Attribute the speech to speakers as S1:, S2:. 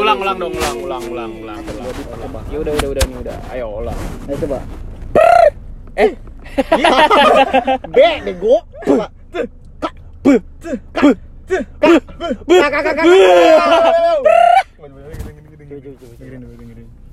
S1: Ulang, ulang dong, ulang, ulang, ulang, ulang. ulang.
S2: coba
S1: Ya udah, udah, udah, nih udah. Ayo ulang.
S2: ayo coba eh b bego coba kakak kakak kakak
S3: Gini, gini, gini, gini, gini. Gini, gini, gini, gini.